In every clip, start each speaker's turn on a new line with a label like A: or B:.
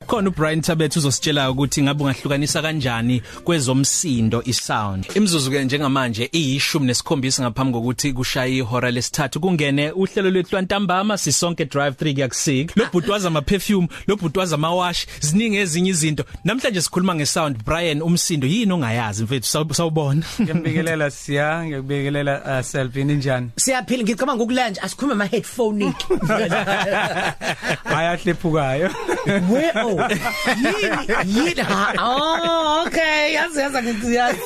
A: ukhona uBrian Tabet uzositshela ukuthi ngabe ungahlukanisa kanjani kwezomsindo isound imizuzu ke njengamanje iyishumi nesikhombisa ngaphambi kokuthi kushaye ihora lesithathu kungene uhlelo lwethu lwantambama sisonke drive 3 kuyakusika lo bhutwaza ama perfume lo bhutwaza ama wash ziningi ezinye izinto namhlanje sikhuluma nge sound Brian umsindo yini ongayazi mfethu saw- sawubona
B: ngiyambikelela siya ngiyakubikelela uh, Selvin njani
C: siyaphila ngicabanga ukulanje asikhulume ama headphone
B: ayahlephukayo
C: we oh yini yini ha- oh okay yazi yazi ngiyazi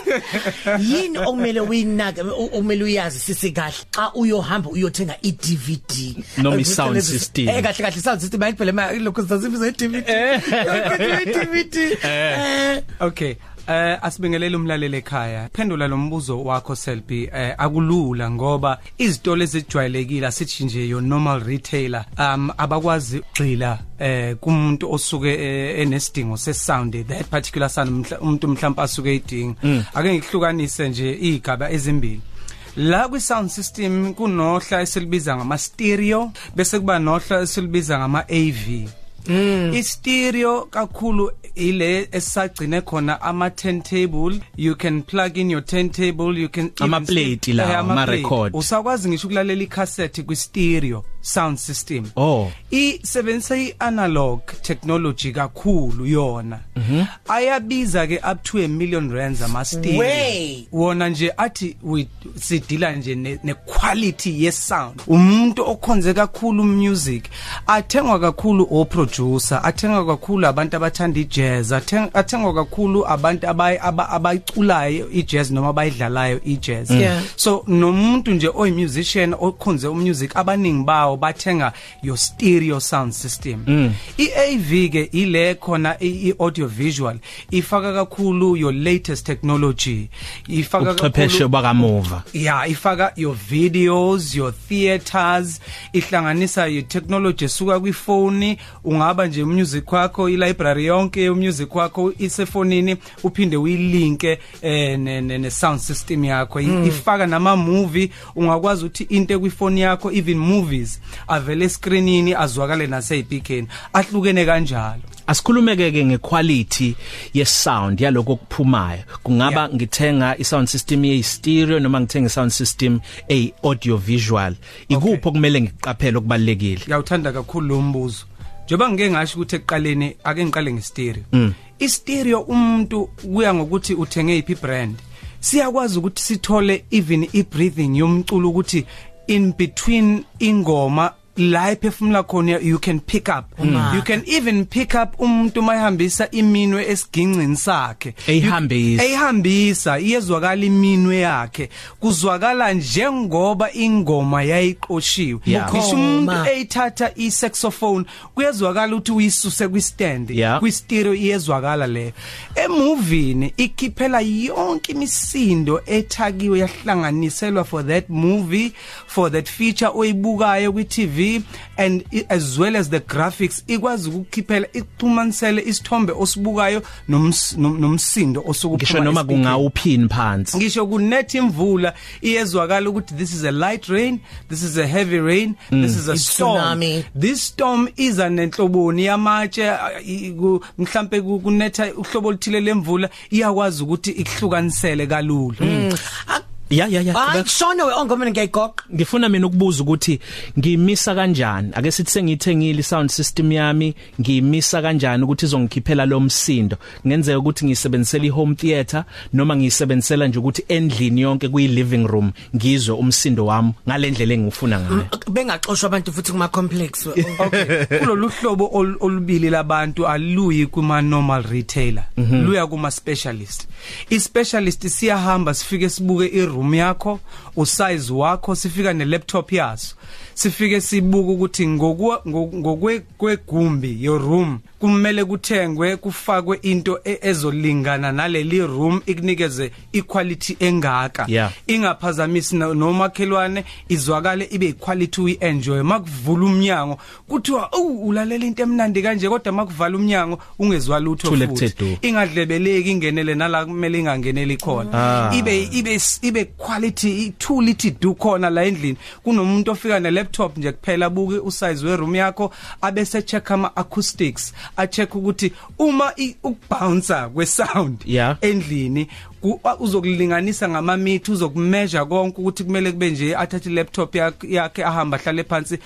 C: yini okumele uyinake o- okumele uyazi sisi kahle xa uyohamba uyothenga iDVD
A: Noma i-sound system. Eh.
C: eh kahle kahle sound system ayiphele ma lokho sizasibiza iDVD iDVD eh
B: okay Uh, asibingelele umlaleli ekhaya phendula lo mbuzo wakho Selby uh, akulula ngoba izitolo ezijwayelekile asithi nje your normal retailer um abakwazi ugxila eh kumuntu osuke eh, enesidingo sesound that particular sound mhla- umuntu mhlawumbe asuke edinga ake ngikuhlukanise nje igaba ezimbili la kwi sound system kunohla esilibiza ngama stereo bese kuba nohla esilibiza ngama AV i stereo kakhulu ile esagcine khona ama turntable you can plug in your turntable you can
A: Ama
B: even-
A: plate lawa,
B: Eh,
A: ama
B: plate.
A: record.
B: usakwazi ngisho ukulalela i cassette kwi stereo sound system
A: Oh.
B: isebenzisa i-analog technology kakhulu yona ayabiza ke up to a million rands ama stereo
C: Wey.
B: wona nje athi we sidila nje ne, ne quality ye sound umuntu okhonze kakhulu music athengwa kakhulu o producer athengwa kakhulu abantu abathanda ijazz atheng- athengwa kakhulu abantu abayi- aba- abayiculayo ijazz noma abayidlalayo ijazz
C: Yeah.
B: so nomuntu nje oy musician okhonze umusic abaningi bawo bathenga your stereo sound system iAV ke ile khona i audio visual ifaka kakhulu your latest technology ifaka
A: ubuchwepheshe
B: kakhulu
A: bakamuva
B: yeah ifaka your videos your theaters ihlanganisa your technology esuka kwifoni ungaba nje music wakho i library yonke music wakho isefonini uphinde uyilinke eh, ne, ne, ne sound system yakho mm. ifaka nama movie ungakwazi ukuthi into kwifoni yakho even movies avele screenini azwakale naseyibhikeni ahlukene kanjalo
A: asikhulumeke ke ngequality ye sound yaloko okuphumayo kungaba
B: Yeah.
A: ngithenga i sound system ye stereo noma ngithenga i sound system ey audio visual ikupho kumele ngiqaphele okubalekile
B: ngiyawuthanda kakhulu lo mbuzo njoba ngike ngasho ukuthi ekuqaleni ake ngiqale ngestereo istereo umuntu kuya ngokuthi uthenge iphi brand siyakwazi ukuthi sithole even i-breathing yomculo ukuthi in between ingoma la ephefumula khona you can pick up
C: Uma.
B: you can even pick up umuntu mayihambisa iminwe esiginqini sakhe
A: Eyihambisa.
B: You- eyihambisa iyezwakala iminwe yakhe kuzwakala njengoba ingoma yayiqoshiwe
A: Yeah.
B: ngisho umuntu
C: Bukhoma.
B: eyithatha i-saxophone kuyezwakala ukuthi uyisuse kwi-stand
A: Yeah.
B: kwi-stereo iyezwakala leyo emovini ikhiphela yonke imisindo ethakiwe yahlanganiselwa for that movie for that feature oyibukayo kwi-tv and i- as well as the graphics ikwazi ukukhiphela ixhumanisele isithombe osibukayo noms- nom- nomsindo osukuphuma
A: ngisho noma
B: esipikini.
A: kungawuphini phansi
B: ngisho kunetha imvula iyezwakala ukuthi this is a light rain this is a heavy rain mm. this is a
C: It's
B: storm
C: tsunami.
B: this storm iza nenhloboni yamatshe ah, i- ku- mhlambe ku- kunetha uhlobo oluthile lemvula iyakwazi ukuthi ikuhlukanisele kalula
C: Mm.
A: ya ya ya
C: ayishona we oh, ongomene ngiyagoqa
A: ngifuna mina ukubuza ukuthi ngimisa kanjani ake sithi sengithengile i sound system yami ngimisa kanjani ukuthi izongikhiphela lo msindo ngenzeka ukuthi ngiyisebenzisela i home theater noma ngiyisebenzisela nje ukuthi endlini yonke kuyi living room ngizwe umsindo wami ngalendlela engifuna ngayo
C: bengaxoshwa abantu futhi kuma complex we. oh.
B: kulolu hlobo ol- olubili labantu aluyi kuma normal retailer luya kuma specialist i specialist siyahamba sifike sibuke i room yakho u size wakho sifika ne laptop yaso sifike sibuke ukuthi ngokwe ngokwe- kwegumbi your room kumele kuthengwe kufakwe into e- ezolingana naleli room ikunikeze equality engaka
A: Yeah.
B: ingaphazamisi no- nomakhelwane izwakale ibe iquality we enjoy makuvula umnyango kuthiwa awu ulalela into emnandi kanje kodwa makuvala umnyango ungezwa lutho
A: Thule kuthe du.
B: futhi ingadlebeleki ingenele nala kumele ingangeneli khona ibe ibe ibe quality ithuli ithi du khona la endlini kunomuntu ofika ufika ne-laptop nje kuphela buke usize weroom yakho abese-check ama-acoustics a-check ukuthi uma i- ukubhouncer kwe-sound
A: Yeah.
B: endlini ku- uzokulinganisa ngamamitha uzokumeasure konke ukuthi kumele kube nje athathe i-laptop yak- yakhe ahambe ahlale phansi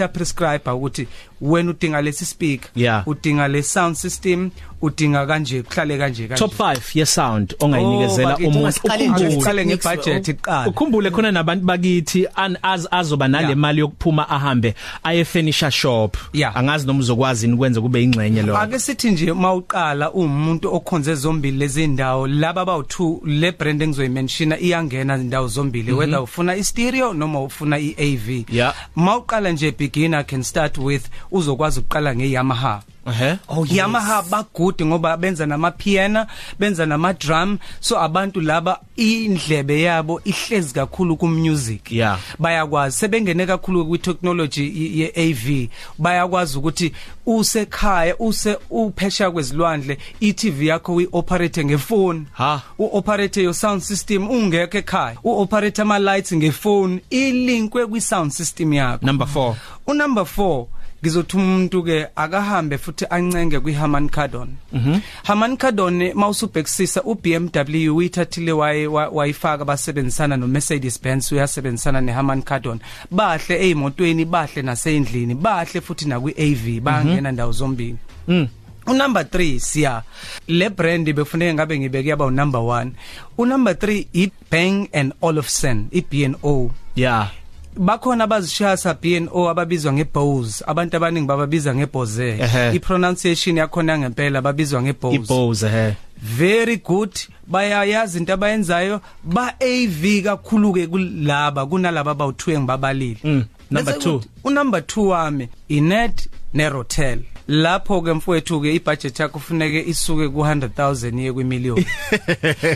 B: abese-prescribe ukuthi wena udinga lesi speaker
A: Yeah.
B: udinga le sound system udinga kanje kuhlale kanje kanje
A: top 5 ye sound ongayinikezela
C: Oh, bakithi,
A: umuntu
C: ungasiqali nje
A: ukhumbule.
C: uthi
B: uqale
C: Mix-
B: ngebudget iqala
A: ukhumbule khona nabantu bakithi an- az azoba nale
B: Yeah.
A: mali yokuphuma ahambe aye furniture shop
B: Yeah.
A: angazi noma uzokwazi ukwenza kube ingxenye lo
B: ake sithi nje mawuqala umuntu okhonze zombili lezindawo laba abawu2 le brand engizoyimenshina iyangena indawo zombili whether ufuna istereo noma ufuna iAV
A: Mhm. Yeah.
B: mawuqala nje beginner can start with uzokwazi ukuqala ngeYamaha
A: ehe
C: Oh, yes.
B: Yamaha bagude ngoba benza nama piano benza nama drum so abantu laba indlebe yabo ihlezi kakhulu ku music
A: Yeah.
B: bayakwazi sebengene kakhulu kwi technology ye- ye AV bayakwazi ukuthi usekhaya use uphesha kwezilwandle iTV yakho uyoperate ngefoni
A: Ha.
B: uoperate your sound system ungekho ekhaya uoperate ama lights ngefoni ilinkwe kwi sound system yakho
A: number 4
B: unumber 4 ngizothi umuntu ke akahambe futhi ancenge kwiHaman Cardon. Mhm. Haman Cardon mawusubhekisisa uBMW uyithathile waye- wa- wayifaka basebenzisana noMercedes Benz uyasebenzisana neHaman Cardon. Bahle ezimotweni, bahle nasendlini, bahle futhi nakwiAV bangena ndawo zombili.
A: mm
B: unumber 3 siya le brand befuneka ngabe ngibeke yaba unumber 1 unumber 3 i Bang and Olufsen i B&O
A: yeah
B: bakhona abazishasa BNO ababizwa ngebose abantu abaningi bababiza ngebose
A: Ehhe.
B: i pronunciation yakhona ngempela babizwa ngebose
A: ibose ehe
B: very good bayayazi into abayenzayo ba AV kakhulu ke kulaba kunalaba abawuthiwe ngibabalile
A: Mm, number
B: Bese
A: two.
B: kuthi unumber 2 wami inet nerotel lapho ke mfowethu ke ibudget yakho kufuneke isuke ku100000 iye kwimillion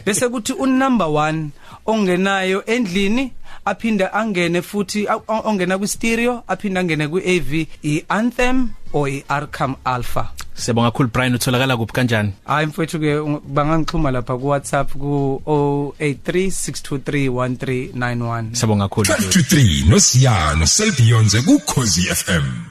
B: bese kuthi unumber 1 ongenayo endlini aphinda angene futhi a- o- ongena kwi stereo aphinda angene kwi AV iAnthem or iArkham Alpha
A: siyabonga kakhulu Brian utholakala kuphi kanjani
B: hayi mfethu ke bangangixhuma lapha ku WhatsApp ku 0836231391
A: siyabonga kakhulu
D: 23 noSiyano selbionze ku Khosi FM